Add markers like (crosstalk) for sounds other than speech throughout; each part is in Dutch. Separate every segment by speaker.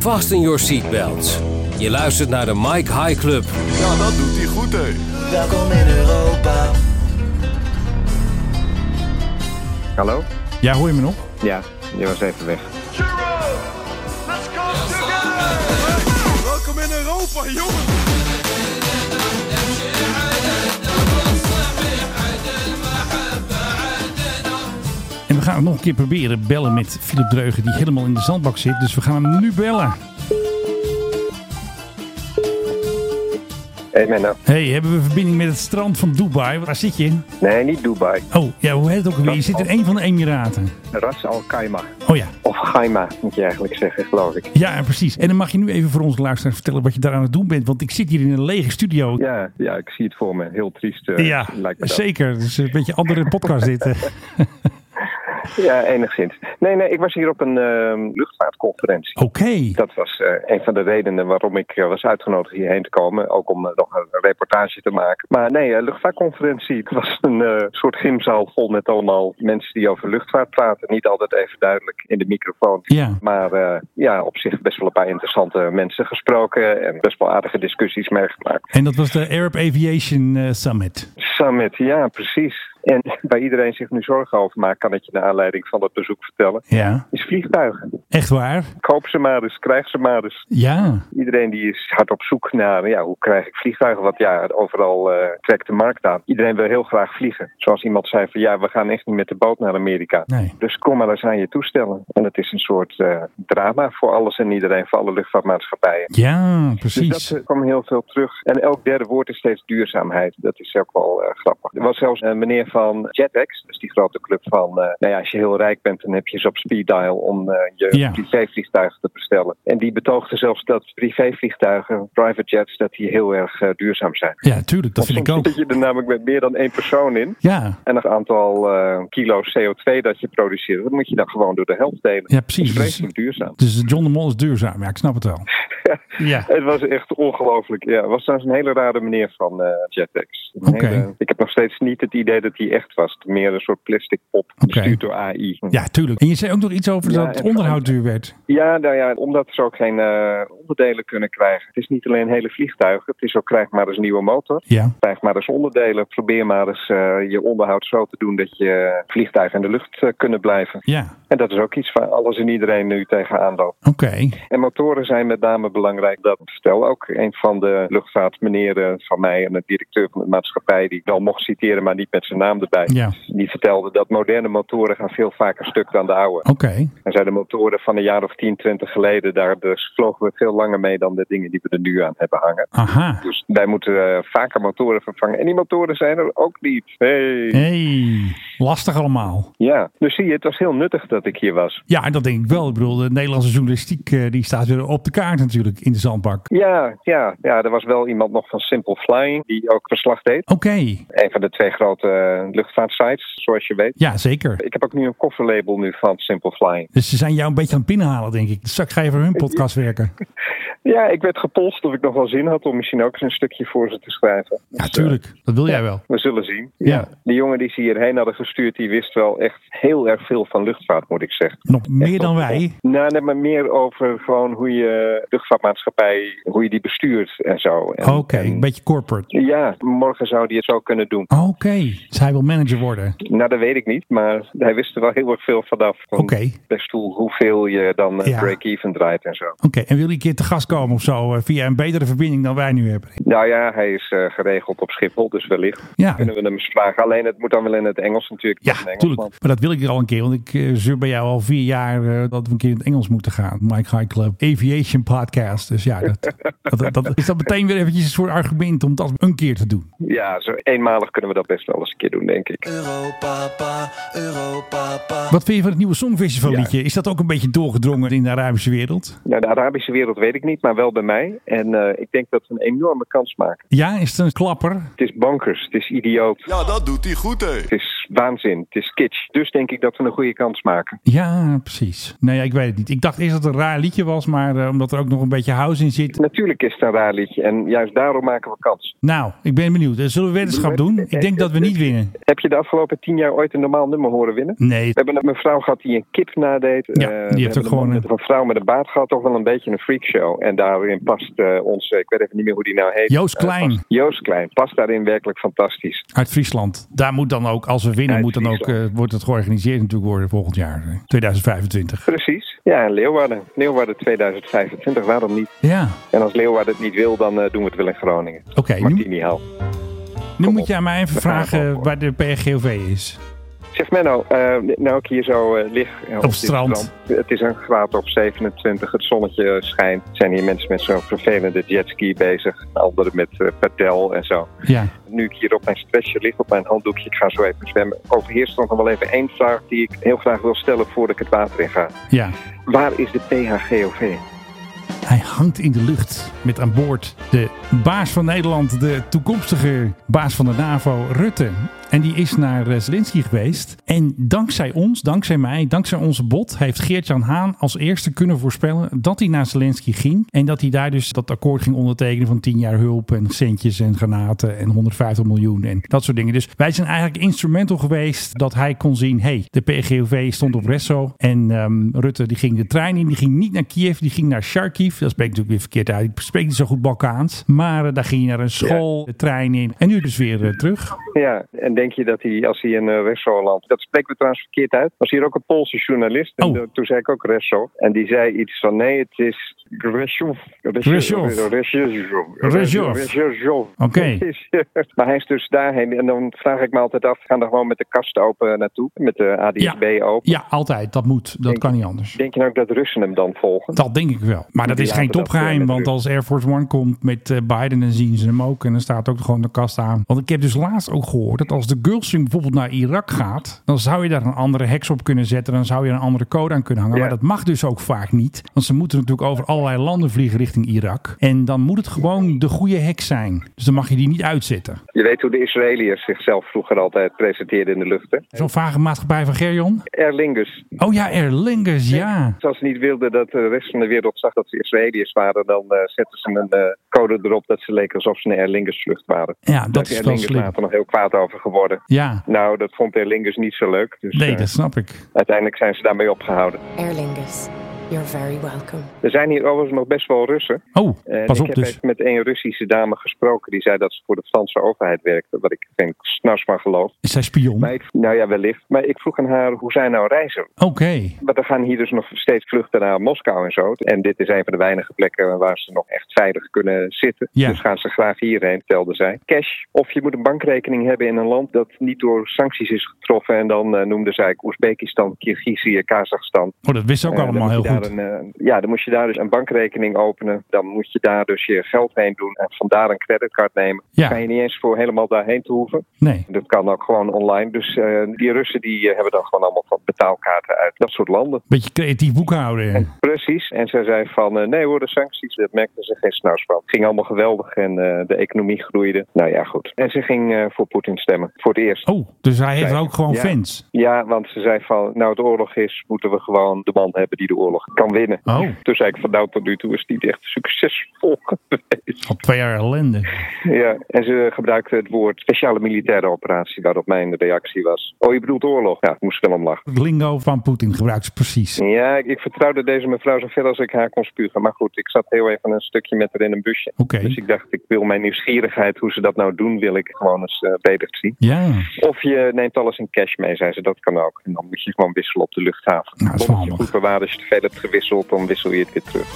Speaker 1: Fasten your seatbelts. Je luistert naar de Mike High Club.
Speaker 2: Ja, dat doet hij goed, hè.
Speaker 3: Welkom in Europa.
Speaker 4: Hallo?
Speaker 5: Ja, hoor je me nog?
Speaker 4: Ja, je was even weg.
Speaker 2: Welkom in Europa, jongen.
Speaker 5: En we gaan het nog een keer proberen bellen met Philip Dreugen, die helemaal in de zandbak zit. Dus we gaan hem nu bellen.
Speaker 4: Hey Menno.
Speaker 5: hey, hebben we verbinding met het strand van Dubai? Waar zit je?
Speaker 4: Nee, niet Dubai.
Speaker 5: Oh, ja, hoe heet het ook alweer? Je zit in een van de Emiraten.
Speaker 4: Ras Al Khaimah.
Speaker 5: Oh ja.
Speaker 4: Of Khaimah, moet je eigenlijk zeggen, geloof ik.
Speaker 5: Ja, precies. En dan mag je nu even voor onze luisteraars vertellen wat je daar aan het doen bent. Want ik zit hier in een lege studio.
Speaker 4: Ja, ja, ik zie het voor me. Heel triest eh,
Speaker 5: Ja,
Speaker 4: lijkt me dat.
Speaker 5: zeker. Het is een beetje een andere podcast dit. hè.
Speaker 4: (laughs) Ja, enigszins. Nee, nee, ik was hier op een ehm, luchtvaartconferentie.
Speaker 5: Oké.
Speaker 4: Dat was eh, een van de redenen waarom ik eh, was uitgenodigd hierheen te komen. Ook om eh, nog een reportage te maken. Maar nee, eh, luchtvaartconferentie. Het was een eh, soort gymzaal vol met allemaal mensen die over luchtvaart praten. Niet altijd even duidelijk in de microfoon.
Speaker 5: Ja.
Speaker 4: Maar eh, ja, op zich best wel een paar interessante mensen gesproken. En best wel aardige discussies meegemaakt.
Speaker 5: En dat was de Arab Aviation eh, Summit.
Speaker 4: Summit, ja, precies. En (laughs) waar iedereen zich nu zorgen over maakt, kan ik je naar aanleiding van dat bezoek vertellen.
Speaker 5: Ja.
Speaker 4: Is vliegtuigen.
Speaker 5: Echt waar?
Speaker 4: Koop ze maar eens, krijg ze maar eens.
Speaker 5: Ja.
Speaker 4: Iedereen die is hard op zoek naar ja, hoe krijg ik vliegtuigen. Want ja, overal eh, trekt de markt aan. Iedereen wil heel graag vliegen. Zoals iemand zei van ja, we gaan echt niet met de boot naar Amerika.
Speaker 5: Nee.
Speaker 4: Dus kom maar eens aan je toestellen. En het is een soort eh, drama voor alles en iedereen, voor alle luchtvaartmaatschappijen.
Speaker 5: Ja,
Speaker 4: Dus
Speaker 5: precies.
Speaker 4: dat eh, kwam heel veel terug. En elk derde woord is steeds duurzaamheid. Dat is ook wel eh, grappig. Er was zelfs een meneer van Jetex, dus die grote club van... eh, nou ja, als je heel rijk bent, dan heb je ze op speed dial om eh, je
Speaker 5: Ja.
Speaker 4: privévliegtuigen te bestellen. En die betoogde zelfs dat privévliegtuigen, private jets, dat die heel erg eh, duurzaam zijn.
Speaker 5: Ja, tuurlijk. Dat vind
Speaker 4: (laughs)
Speaker 5: ik
Speaker 4: Soms
Speaker 5: ook.
Speaker 4: zit je er namelijk met meer dan één persoon in.
Speaker 5: Ja.
Speaker 4: En een aantal eh, kilo CO2 dat je produceert, dat moet je dan gewoon door de helft delen.
Speaker 5: Ja, precies.
Speaker 4: Dat is vreselijk duurzaam.
Speaker 5: Dus John de Mol is duurzaam. Ja, ik snap het wel. Ja.
Speaker 4: Het was echt ongelooflijk. Ja, het was trouwens een hele rare meneer van eh Jetex. Een
Speaker 5: Oké.
Speaker 4: hele- ik heb nog steeds niet het idee dat hij echt was. Meer een soort plastic pop, gestuurd door AI.
Speaker 5: Ja, tuurlijk. En je zei ook nog iets over
Speaker 4: Ja,
Speaker 5: dat het
Speaker 4: en-
Speaker 5: onderhoud duur werd.
Speaker 4: Ja, nou ja, omdat ze ook geen eh, onderdelen kunnen krijgen. Het is niet alleen hele vliegtuigen. Het is ook krijg maar eens een nieuwe motor.
Speaker 5: Ja.
Speaker 4: Krijg maar eens onderdelen. Probeer maar eens eh, je onderhoud zo te doen dat je vliegtuigen in de lucht eh, kunnen blijven.
Speaker 5: Ja.
Speaker 4: En dat is ook iets waar alles en iedereen nu tegenaan loopt.
Speaker 5: Oké.
Speaker 4: En motoren zijn met name belangrijk. Dat stel ook een van de luchtvaartmeneren van mij en de directeur van de maatschappij, die ik wel mocht citeren, maar niet met zijn naam erbij.
Speaker 5: Ja.
Speaker 4: Die vertelde dat moderne motoren gaan veel vaker stuk dan de oude.
Speaker 5: Oké.
Speaker 4: En zijn de motoren van een jaar of 10, 20 geleden, daar dus vlogen we veel langer mee dan de dingen die we er nu aan hebben hangen.
Speaker 5: Aha.
Speaker 4: Dus wij moeten eh, vaker motoren vervangen. En die motoren zijn er ook niet. Hey.
Speaker 5: Hey. Lastig allemaal.
Speaker 4: Ja, dus zie je, het was heel nuttig dat ik hier was.
Speaker 5: Ja, dat denk ik wel. Ik bedoel, de Nederlandse journalistiek eh, die staat weer op de kaart natuurlijk in de zandbak.
Speaker 4: Ja, ja, ja, er was wel iemand nog van Simple Flying die ook verslag deed.
Speaker 5: Oké.
Speaker 4: Een van de twee grote eh, luchtvaartsites, zoals je weet.
Speaker 5: Ja, zeker.
Speaker 4: Ik heb ook nu een kofferlabel nu van Simple Flying.
Speaker 5: Dus ze zijn jou een beetje aan het binnenhalen, denk ik. Straks ga je voor hun
Speaker 4: (laughs)
Speaker 5: podcast werken.
Speaker 4: Ja, ik werd gepolst of ik nog wel zin had om misschien ook eens een stukje voor ze te schrijven.
Speaker 5: Ja, tuurlijk. Dat wil jij wel.
Speaker 4: We zullen zien.
Speaker 5: Ja.
Speaker 4: Die jongen die ze hierheen hadden gestuurd, die wist wel echt heel erg veel van luchtvaart, moet ik zeggen.
Speaker 5: Nog meer dan wij.
Speaker 4: Nou, net maar meer over gewoon hoe je luchtvaartmaatschappij, hoe je die bestuurt en zo. En-
Speaker 5: Oké, een
Speaker 4: en-
Speaker 5: beetje corporate.
Speaker 4: Ja, morgen zou die het zo kunnen doen.
Speaker 5: Oké. Dus hij wil manager worden.
Speaker 4: Nou, dat weet ik niet, maar hij wist er wel heel erg veel vanaf. Van
Speaker 5: Oké.
Speaker 4: Per stoel, hoeveel je dan eh,
Speaker 5: Ja.
Speaker 4: break-even draait en zo.
Speaker 5: Oké, en wil je een keer te gast komen of zo? eh, Via een betere verbinding dan wij nu hebben?
Speaker 4: Nou ja, hij is eh, geregeld op Schiphol, dus wellicht
Speaker 5: Ja,
Speaker 4: kunnen we hem eens vragen. Alleen het moet dan wel in het Engels natuurlijk.
Speaker 5: ja
Speaker 4: in Engels,
Speaker 5: tuurlijk.
Speaker 4: want-
Speaker 5: Maar dat wil ik al een keer, want ik eh, zeur bij jou al vier jaar eh, dat we een keer in het Engels moeten gaan. Mike High Club, Aviation Podcast. Dus
Speaker 4: (laughs)
Speaker 5: ja, dat, dat, dat, is dat meteen weer eventjes een soort argument om dat een keer te doen.
Speaker 4: Ja, zo eenmalig kunnen we dat best wel eens een keer doen, denk ik.
Speaker 3: Europa, pa, Europa, pa.
Speaker 5: Wat vind je van het nieuwe Songfestival liedje? Is dat ook een beetje doorgedrongen in de Arabische wereld?
Speaker 4: Nou, de Arabische wereld weet ik niet, maar wel bij mij. En eh, ik denk dat we een enorme kans maken.
Speaker 5: Ja, is het een klapper?
Speaker 4: Het is bankers, het is idioot.
Speaker 2: Ja, dat doet hij goed, hè.
Speaker 4: Het is is waanzin. Het is kitsch. Dus denk ik dat we een goede kans maken.
Speaker 5: Ja, precies. Nee, ja, ik weet het niet. Ik dacht eerst dat het een raar liedje was, maar eh, omdat er ook nog een beetje house in zit.
Speaker 4: Natuurlijk is het een raar liedje en juist daarom maken we kans.
Speaker 5: Nou, ik ben benieuwd. Eh, Zullen we wetenschap doen? Ik denk dat we niet winnen.
Speaker 4: Heb je de afgelopen tien jaar ooit een normaal nummer horen winnen?
Speaker 5: Nee.
Speaker 4: We hebben een vrouw gehad die een kip nadeed.
Speaker 5: Ja,
Speaker 4: Eh,
Speaker 5: die
Speaker 4: we
Speaker 5: heeft
Speaker 4: hebben
Speaker 5: ook gewoon
Speaker 4: Een, een vrouw met een baard gehad, toch wel een beetje een freakshow. En daarin past eh, onze, ik weet even niet meer hoe die nou heet.
Speaker 5: Joost
Speaker 4: Eh,
Speaker 5: Klein.
Speaker 4: past- Joost Klein past daarin werkelijk fantastisch.
Speaker 5: Uit Friesland. Daar moet dan ook, als we winnen,
Speaker 4: Uit
Speaker 5: moet dan ook, eh, wordt het georganiseerd natuurlijk worden volgend jaar. eh, 2025.
Speaker 4: Precies. Ja, en Leeuwarden. Leeuwarden 2025, waarom niet?
Speaker 5: Ja,
Speaker 4: En als Leeuwarden het niet wil, dan eh, doen we het wel in Groningen.
Speaker 5: oké. nu
Speaker 4: Martini haal.
Speaker 5: nu
Speaker 4: kom
Speaker 5: moet
Speaker 4: op.
Speaker 5: je aan mij even
Speaker 4: We gaan
Speaker 5: vragen
Speaker 4: ervoor.
Speaker 5: waar de PRGOV is.
Speaker 4: Zeg Menno, eh, nou ik hier zo eh, lig eh,
Speaker 5: Op
Speaker 4: dit
Speaker 5: strand.
Speaker 4: Het is een graad op 27, het zonnetje schijnt. Zijn hier mensen met zo'n vervelende jetski bezig. Anderen met eh, padel en zo.
Speaker 5: Ja,
Speaker 4: Nu ik hier op mijn stretcher lig, op mijn handdoekje, ik ga zo even zwemmen. Overheerst nog wel even één vraag die ik heel graag wil stellen voordat ik het water in ga.
Speaker 5: ja.
Speaker 4: Waar is de PHGOV?
Speaker 5: Hij hangt in de lucht met aan boord de baas van Nederland, de toekomstige baas van de NAVO, Rutte. En die is naar eh, Zelensky geweest. En dankzij ons, dankzij mij, dankzij onze bot, heeft Geert-Jan Haan als eerste kunnen voorspellen dat hij naar Zelensky ging. En dat hij daar dus dat akkoord ging ondertekenen van 10 jaar hulp en centjes en granaten en 150 miljoen en dat soort dingen. Dus wij zijn eigenlijk instrumental geweest dat hij kon zien, hey, de PGOV stond op Resso. En ehm, Rutte die ging de trein in, die ging niet naar Kiev, die ging naar Sharkiv. Dat spreek ik natuurlijk weer verkeerd uit, ik spreek niet zo goed Balkaans. Maar eh, daar ging je naar een school, de trein in en nu dus weer eh, terug.
Speaker 4: Ja, en denk je dat hij, als hij in eh, Resso landt, dat spreken we trouwens verkeerd uit. Was hier ook een Poolse journalist. En
Speaker 5: Oh.
Speaker 4: de- toen zei ik ook Resso. En die zei iets van: nee, het is. Greshoff.
Speaker 5: Greshoff.
Speaker 4: Greshoff. Greshoff.
Speaker 5: Greshoff.
Speaker 4: Greshoff. (laughs)
Speaker 5: Oké.
Speaker 4: Maar hij is dus daarheen. En dan vraag ik me altijd af: gaan er gewoon met de kast open eh, naartoe? Met de ADSB open?
Speaker 5: Ja, altijd, dat moet, dat kan niet anders.
Speaker 4: Denk je nou ook dat Russen hem dan volgen?
Speaker 5: Dat denk ik wel. Maar dat
Speaker 4: Die
Speaker 5: is geen
Speaker 4: laten dat,
Speaker 5: topgeheim.
Speaker 4: eh,
Speaker 5: Want als Air Force One komt met eh, Biden, dan zien ze hem ook. En dan staat ook gewoon de kast aan. Want ik heb dus laatst ook gehoord dat als de Gulfstream bijvoorbeeld naar Irak gaat. dan zou je daar een andere heks op kunnen zetten. Dan zou je een andere code aan kunnen hangen.
Speaker 4: Ja.
Speaker 5: Maar dat mag dus ook vaak niet. Want ze moeten natuurlijk over allerlei landen vliegen richting Irak. En dan moet het gewoon de goede heks zijn. Dus dan mag je die niet uitzetten.
Speaker 4: Je weet hoe de Israëliërs zichzelf vroeger altijd presenteerden in de lucht. Hè?
Speaker 5: Zo'n vage maatschappij van Gerjon.
Speaker 4: Erlingus.
Speaker 5: Oh ja, Erlingus, ja.
Speaker 4: Als ze niet wilden dat de rest van de wereld zag dat ze Israëliërs waren, dan eh, zetten ze een eh, code erop dat ze leken alsof ze een Aer Lingus vlucht waren.
Speaker 5: Ja,
Speaker 4: Daar
Speaker 5: dat is wel
Speaker 4: Erlingus
Speaker 5: slim.
Speaker 4: later nog heel kwaad over geworden.
Speaker 5: Ja,
Speaker 4: Nou, dat vond Aer Lingus niet zo leuk. Dus
Speaker 5: nee,
Speaker 4: eh,
Speaker 5: dat snap ik.
Speaker 4: uiteindelijk zijn ze daarmee opgehouden.
Speaker 6: Aer Lingus, you're very welcome.
Speaker 4: Er zijn hier overigens nog best wel Russen.
Speaker 5: Oh,
Speaker 4: En
Speaker 5: pas
Speaker 4: Eh, ik heb
Speaker 5: op dus.
Speaker 4: even met een Russische dame gesproken die zei dat ze voor de Franse overheid werkte, wat ik geen snars van geloof.
Speaker 5: Is hij spion?
Speaker 4: Maar ik, nou ja, wellicht. Maar ik vroeg aan haar hoe zij nou reizen.
Speaker 5: Oké.
Speaker 4: Maar er gaan hier dus nog steeds vluchten naar Moskou en zo. En dit is een van de weinige plekken waar ze nog echt veilig kunnen zitten.
Speaker 5: Ja.
Speaker 4: Dus gaan ze graag hierheen, telde zij. Cash. Of je moet een bankrekening hebben in een land dat niet door sancties is getroffen. En dan eh, noemde zij Oezbekistan, Kirgizië, Kazachstan.
Speaker 5: Oh, dat wist ze ook
Speaker 4: Eh, dan
Speaker 5: allemaal
Speaker 4: moet
Speaker 5: heel
Speaker 4: je daar
Speaker 5: goed.
Speaker 4: een, eh, ja, dan moest je daar dus een bankrekening openen. Dan moet je daar dus je geld heen doen en vandaar een creditcard nemen.
Speaker 5: Ja.
Speaker 4: Kan je niet eens voor helemaal daarheen te hoeven.
Speaker 5: Nee.
Speaker 4: Dat kan ook gewoon online. Dus eh, die Russen die eh, hebben dan gewoon allemaal van betaalkaarten uit dat soort landen.
Speaker 5: Beetje creatief boekhouden.
Speaker 4: Precies. En zij zei van eh, nee hoor, de sancties, dat merkten ze geen snars van. Het ging allemaal geweldig en eh, de economie groeide. Nou ja, goed. En ze ging eh, voor Poetin stemmen, voor het eerst.
Speaker 5: Oh, dus hij heeft ook gewoon
Speaker 4: Ja.
Speaker 5: fans.
Speaker 4: Ja, want ze zei van nou de oorlog is, moeten we gewoon de man hebben die de oorlog kan winnen.
Speaker 5: Oh.
Speaker 4: Toen zei ik van nou tot nu toe is het niet echt succesvol (laughs) geweest.
Speaker 5: Al twee jaar ellende.
Speaker 4: Ja, en ze gebruikte het woord speciale militaire operatie, waarop mijn reactie was. Oh, je bedoelt oorlog? Ja, ik moest er wel om lachen.
Speaker 5: Het lingo van Poetin gebruikt ze precies. Oké.
Speaker 4: Ja, ik, ik vertrouwde deze mevrouw zoveel als ik haar kon spugen. Maar goed, ik zat heel even een stukje met haar in een busje. Dus ik dacht, ik wil mijn nieuwsgierigheid, hoe ze dat nou doen, wil ik gewoon eens eh beter zien.
Speaker 5: Ja,
Speaker 4: Of je neemt alles in cash mee, zei ze, dat kan ook. En dan moet je gewoon wisselen op de luchthaven.
Speaker 5: Nou, dat is wel
Speaker 4: Omdat je
Speaker 5: handig.
Speaker 4: goed bewaard, als je te veel hebt gewisseld, dan wissel je het weer terug.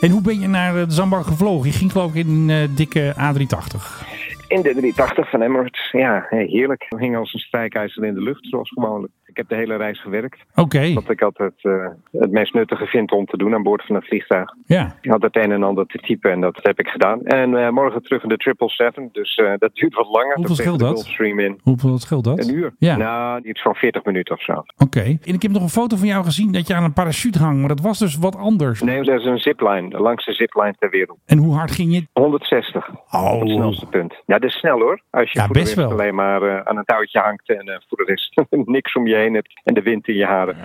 Speaker 5: en hoe ben je naar eh, de Zambar gevlogen? Je ging geloof ik in een eh, dikke A380.
Speaker 4: In de 380 van Emirates, ja, hé, heerlijk. We hingen als een strijkijzer in de lucht, zoals gewoonlijk. Ik heb de hele reis gewerkt.
Speaker 5: Oké,
Speaker 4: Wat ik altijd eh, het meest nuttige vind om te doen aan boord van een vliegtuig.
Speaker 5: ja.
Speaker 4: Ik had het een en ander te typen en dat heb ik gedaan. En eh, morgen terug in de 777, dus eh, dat duurt wat langer. Dan
Speaker 5: Hoeveel
Speaker 4: tegen
Speaker 5: scheelt
Speaker 4: de
Speaker 5: dat?
Speaker 4: Gulfstream in.
Speaker 5: Hoeveel scheelt dat?
Speaker 4: Een uur?
Speaker 5: Ja,
Speaker 4: Nou, iets van 40 minuten of zo.
Speaker 5: oké. En ik heb nog een foto van jou gezien dat je aan een parachute hangt, maar dat was dus wat anders.
Speaker 4: Nee, dat is een zipline, de langste zipline ter wereld.
Speaker 5: En hoe hard ging je?
Speaker 4: 160,
Speaker 5: Oh,
Speaker 4: het snelste punt. Ja, dat is snel hoor. Als je
Speaker 5: Ja,
Speaker 4: voor de
Speaker 5: best
Speaker 4: rest
Speaker 5: wel.
Speaker 4: alleen maar eh, aan een touwtje hangt en eh, voor de rest (laughs) niks om je heen hebt en de wind in je haren.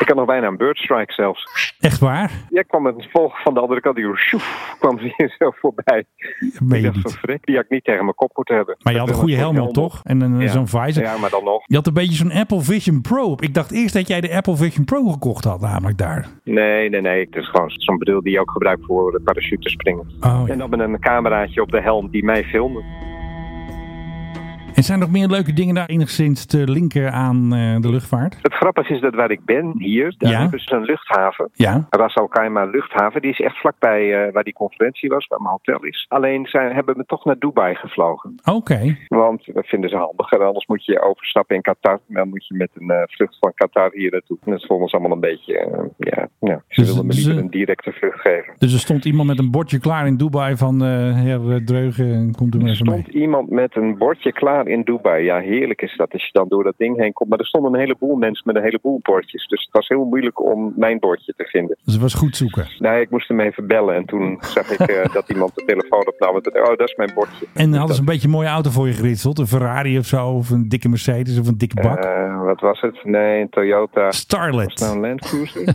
Speaker 4: Ik had nog bijna een bird strike zelfs.
Speaker 5: echt waar?
Speaker 4: Jij kwam met een volg van de andere kant. Die sjoef, kwam (laughs) weer zo voorbij.
Speaker 5: Dat meen je
Speaker 4: Ik dacht van,
Speaker 5: niet.
Speaker 4: "Frik, Die had ik niet tegen mijn kop moeten hebben.
Speaker 5: Maar je had een goede helm op, toch? En een,
Speaker 4: Ja.
Speaker 5: zo'n visor.
Speaker 4: Ja, maar dan nog.
Speaker 5: Je had een beetje zo'n Apple Vision Pro op. Ik dacht eerst dat jij de Apple Vision Pro gekocht had, namelijk daar.
Speaker 4: Nee, nee, nee. Het is gewoon zo'n bril die je ook gebruikt voor het parachute springen.
Speaker 5: Oh, ja.
Speaker 4: En dan met een cameraatje op de helm die mij filmde.
Speaker 5: En zijn er nog meer leuke dingen daar enigszins te linken aan eh, de luchtvaart?
Speaker 4: Het grappige is dat waar ik ben, hier, daar
Speaker 5: Ja.
Speaker 4: hebben ze een luchthaven.
Speaker 5: Ja.
Speaker 4: Ras Al Khaimah luchthaven, die is echt vlakbij eh, waar die conferentie was, waar mijn hotel is. Alleen zijn, hebben we toch naar Dubai gevlogen.
Speaker 5: Oké.
Speaker 4: Want dat vinden ze handiger. Anders moet je overstappen in Qatar. Dan moet je met een eh, vlucht van Qatar hier naartoe. En dat vonden ze allemaal een beetje. eh, ja, ja, ze
Speaker 5: Dus
Speaker 4: wilden me
Speaker 5: ze-
Speaker 4: liever een directe vlucht geven.
Speaker 5: Dus er stond iemand met een bordje klaar in Dubai van eh her eh, Dreugen, komt u maar
Speaker 4: Er
Speaker 5: even mee.
Speaker 4: stond iemand met een bordje klaar in Dubai. Ja, heerlijk is dat als je dan door dat ding heen komt. Maar er stonden een heleboel mensen met een heleboel bordjes. Dus het was heel moeilijk om mijn bordje te vinden.
Speaker 5: Dus het was goed zoeken.
Speaker 4: Nee, ik moest hem even bellen. En toen zag ik eh, dat iemand de telefoon opnam. En toen, oh, dat is mijn bordje.
Speaker 5: En hadden ze een beetje een mooie auto voor je geritseld? Een Ferrari of zo, of een dikke Mercedes of een dikke bak?
Speaker 4: Eh, wat was het? Nee, een Toyota. Was het nou
Speaker 5: Starlet.
Speaker 4: een Land Cruiser?
Speaker 5: (laughs)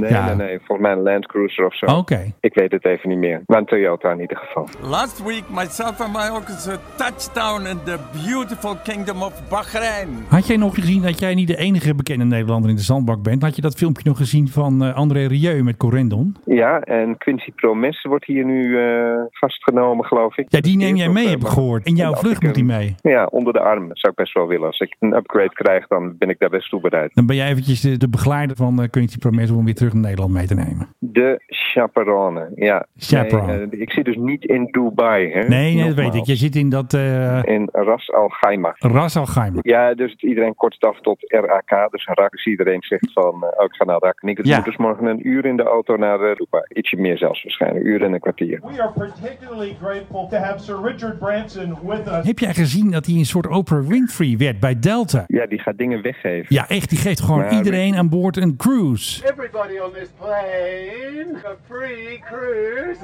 Speaker 4: Nee,
Speaker 5: Ja. Oh,
Speaker 4: nee, nee. Volgens mij een Land Cruiser of zo.
Speaker 5: Oké.
Speaker 4: Ik weet het even niet meer. Maar een Toyota in ieder geval.
Speaker 2: Last week, myself and my orchestra touchdown in the beautiful kingdom of Bahrein.
Speaker 5: Had jij nog gezien dat jij niet de enige bekende Nederlander in de zandbak bent? Had je dat filmpje nog gezien van eh, André Rieu met Corendon?
Speaker 4: Ja, en Quincy Promes wordt hier nu eh, vastgenomen, geloof ik. eh,
Speaker 5: Ja, die neem jij mee, heb ik
Speaker 4: Maar-
Speaker 5: gehoord. In jouw
Speaker 4: Als
Speaker 5: vlucht
Speaker 4: ik eh,
Speaker 5: moet die
Speaker 4: hem-
Speaker 5: mee.
Speaker 4: Ja, onder de arm zou ik best wel willen. Als ik een upgrade krijg, dan ben ik daar best toe bereid.
Speaker 5: Dan ben jij eventjes de, de begeleider van eh Quincy Promes om hem weer terug naar Nederland mee te nemen.
Speaker 4: De chaperone, ja.
Speaker 5: Chaperone.
Speaker 4: Nee, eh, ik zit dus niet in Dubai, hè?
Speaker 5: Nee, nee dat
Speaker 4: Nogmaals.
Speaker 5: weet ik. Je zit in dat eh
Speaker 4: In Ras Al Khaimah.
Speaker 5: Ras Al Khaimah.
Speaker 4: Ja, dus iedereen kort het af tot RAK. Dus RAK. Dus iedereen zegt van, eh, oh, ik ga naar RAK. En ik
Speaker 5: Ja.
Speaker 4: moet dus morgen een uur in de auto naar eh, Dubai. Ietsje meer zelfs waarschijnlijk. Een uur en een kwartier.
Speaker 7: We are particularly grateful to have Sir Richard Branson with us.
Speaker 5: Heb jij gezien dat hij een soort Oprah Winfrey werd bij Delta?
Speaker 4: Ja, die gaat dingen weggeven.
Speaker 5: Ja, echt. Die geeft gewoon
Speaker 4: Nou,
Speaker 5: iedereen aan boord een cruise.
Speaker 8: Everybody on this plane, a free cruise.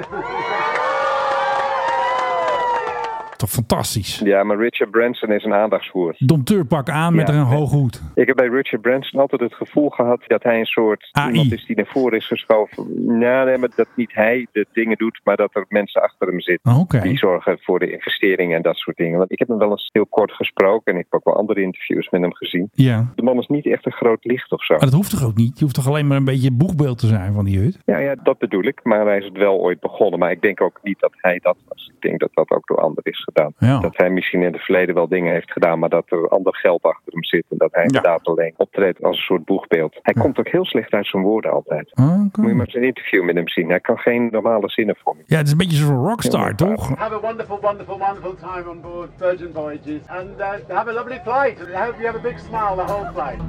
Speaker 5: Toch fantastisch.
Speaker 4: Ja, maar Richard Branson is een aandachtsvoer.
Speaker 5: Hm. Domteurpak aan met
Speaker 4: Ja.
Speaker 5: er een hoge hoed.
Speaker 4: Ik heb bij Richard Branson altijd het gevoel gehad dat hij een soort
Speaker 5: AI.
Speaker 4: iemand is die naar voren is geschoven. Nou, nee, maar dat niet hij de dingen doet, maar dat er mensen achter hem zitten.
Speaker 5: Ah, Oh, Oké.
Speaker 4: Die zorgen voor de investeringen en dat soort dingen. Want ik heb hem wel eens heel kort gesproken en ik heb ook wel andere interviews met hem gezien.
Speaker 5: Ja. Maar
Speaker 4: De man is niet echt een groot licht of zo.
Speaker 5: Oh, dat hoeft toch ook niet? Je hoeft toch alleen maar een beetje boegbeeld te zijn van die hut?
Speaker 4: Ja, ja, dat bedoel ik. Maar hij is het wel ooit begonnen. Maar ik denk ook niet dat hij dat was. Ik denk dat dat ook door anderen is gedaan.
Speaker 5: Ja.
Speaker 4: Dat hij misschien in het verleden wel dingen heeft gedaan, maar dat er ander geld achter hem zit. En dat hij inderdaad alleen optreedt als een soort boegbeeld. Hij komt ook heel slecht uit zijn woorden altijd.
Speaker 5: Ah, Oké.
Speaker 4: Moet je maar eens een interview met hem zien. Hij kan geen normale zinnen vormen.
Speaker 5: Ja, het is een beetje zo'n rockstar, toch?
Speaker 8: Have a wonderful, wonderful, wonderful time on board Virgin Voyages and uh, have a lovely flight. I hope you have a big smile the whole flight.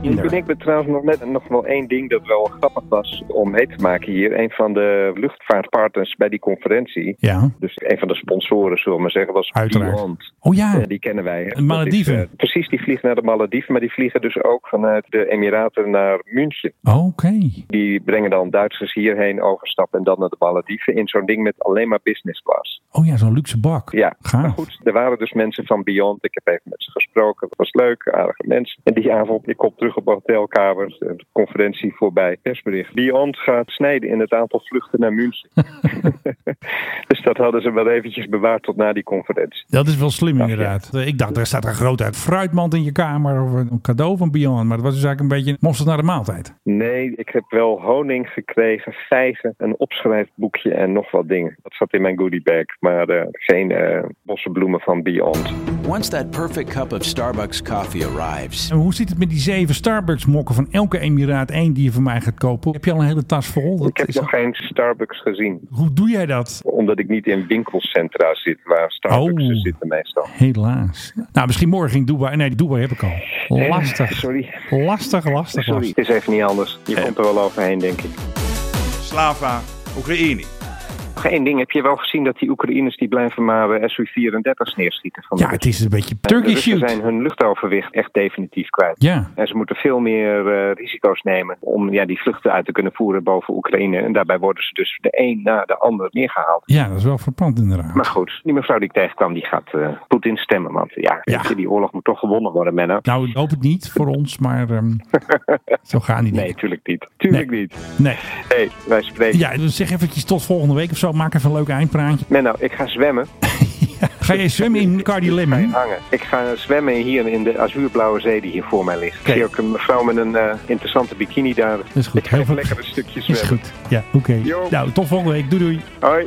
Speaker 4: Ik denk me trouwens nog net nog wel één ding dat wel grappig was om mee te maken hier. Een van de luchtvaartpartners bij die conferentie.
Speaker 5: Ja.
Speaker 4: Dus een van de sponsoren, zullen we maar zeggen, was
Speaker 5: Uiteraard.
Speaker 4: Beyond.
Speaker 5: Oh ja.
Speaker 4: Ja, Eh, die kennen wij. hè.
Speaker 5: De Malediven.
Speaker 4: Dat is, eh, precies, die vliegen naar de Malediven, maar die vliegen dus ook vanuit de Emiraten naar München.
Speaker 5: Oké.
Speaker 4: Die brengen dan Duitsers hierheen overstappen en dan naar de Malediven in zo'n ding met alleen maar business class.
Speaker 5: Oh ja, zo'n luxe bak.
Speaker 4: Ja, maar
Speaker 5: Gaaf.
Speaker 4: goed, er waren dus mensen van Beyond. Ik heb even met ze gesproken. Het was leuk, aardige mensen. En die avond, ik kom terug op mijn hotelkamer, de conferentie voorbij, persbericht. Beyond gaat snijden in het aantal vluchten naar
Speaker 5: (laughs)
Speaker 4: München. (laughs) dus dat hadden ze wel eventjes bewaard tot na die conferentie.
Speaker 5: Dat is wel slim
Speaker 4: ja.
Speaker 5: inderdaad. Eh, Ik dacht, er staat een groot uit fruitmand in je kamer of een cadeau van Beyond. Maar dat was dus eigenlijk een beetje een monster naar de maaltijd.
Speaker 4: Nee, ik heb wel honing gekregen, vijgen, een opschrijfboekje en nog wat dingen. Dat zat in mijn goodiebag. maar eh, geen eh bossenbloemen van Beyond.
Speaker 9: Once that perfect cup of Starbucks coffee arrives,
Speaker 5: En hoe zit het met die zeven Starbucks mokken van elke Emiraat één die je van mij gaat kopen? Heb je al een hele tas vol? Dat
Speaker 4: Ik heb
Speaker 5: is-
Speaker 4: nog geen Starbucks gezien,
Speaker 5: Hoe doe jij dat?
Speaker 4: omdat ik niet in winkelcentra zit waar Starbucks
Speaker 5: Oh.
Speaker 4: zitten meestal.
Speaker 5: Helaas. Nou, misschien morgen in Dubai. Nee, Dubai heb ik al. Lastig.
Speaker 4: Eh, sorry.
Speaker 5: Lastig, lastig,
Speaker 4: Sorry,
Speaker 5: lastig.
Speaker 4: het is even niet anders. Je komt er wel overheen, denk ik.
Speaker 10: Slava Oekraïne.
Speaker 4: Nog één ding, heb je wel gezien dat die Oekraïners die blijven maar eh, SU-34's neerschieten? Van de
Speaker 5: Ja, het
Speaker 4: Russen?
Speaker 5: is een beetje
Speaker 4: En de
Speaker 5: Turkish
Speaker 4: Russen
Speaker 5: shoot.
Speaker 4: zijn hun luchtoverwicht echt definitief kwijt.
Speaker 5: Ja.
Speaker 4: En ze moeten veel meer eh, risico's nemen om ja, die vluchten uit te kunnen voeren boven Oekraïne. En daarbij worden ze dus de een na de ander neergehaald.
Speaker 5: ja, dat is wel verpand
Speaker 4: Maar
Speaker 5: inderdaad.
Speaker 4: goed, die mevrouw die ik tegenkwam, die gaat eh, Poetin stemmen. Want ja,
Speaker 5: Ja.
Speaker 4: weet je, die oorlog moet toch gewonnen worden, Menno.
Speaker 5: Nou, ik hoop het niet voor ons,
Speaker 4: (laughs)
Speaker 5: maar ehm, zo gaan die
Speaker 4: Nee,
Speaker 5: dingen.
Speaker 4: tuurlijk niet. Tuurlijk
Speaker 5: Nee.
Speaker 4: niet.
Speaker 5: Nee.
Speaker 4: Nee, wij spreken.
Speaker 5: Ja, dus zeg eventjes tot volgende week of zo. Maak even een leuk eindpraatje.
Speaker 4: Menno, ik ga zwemmen.
Speaker 5: Ga jij zwemmen in Cardi Lemon?
Speaker 4: hangen. Ik ga zwemmen hier in de azuurblauwe zee die hier voor mij ligt. Ik zie ook een mevrouw met een eh, interessante bikini daar.
Speaker 5: is goed.
Speaker 4: Ik ga
Speaker 5: Heel
Speaker 4: even
Speaker 5: veel-
Speaker 4: lekker een stukje
Speaker 5: Is
Speaker 4: zwemmen.
Speaker 5: goed. Ja, oké.
Speaker 4: Jo.
Speaker 5: Nou, tot volgende week. Doei doei.
Speaker 4: Hoi.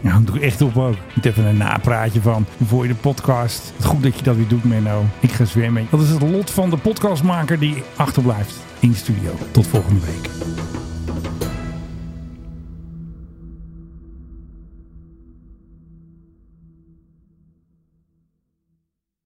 Speaker 5: Nou, doe echt op ook. Moet even een napraatje van voor je de podcast. Goed dat je dat weer doet, Menno. Ik ga zwemmen. Dat is het lot van de podcastmaker die achterblijft in de studio. Tot volgende week.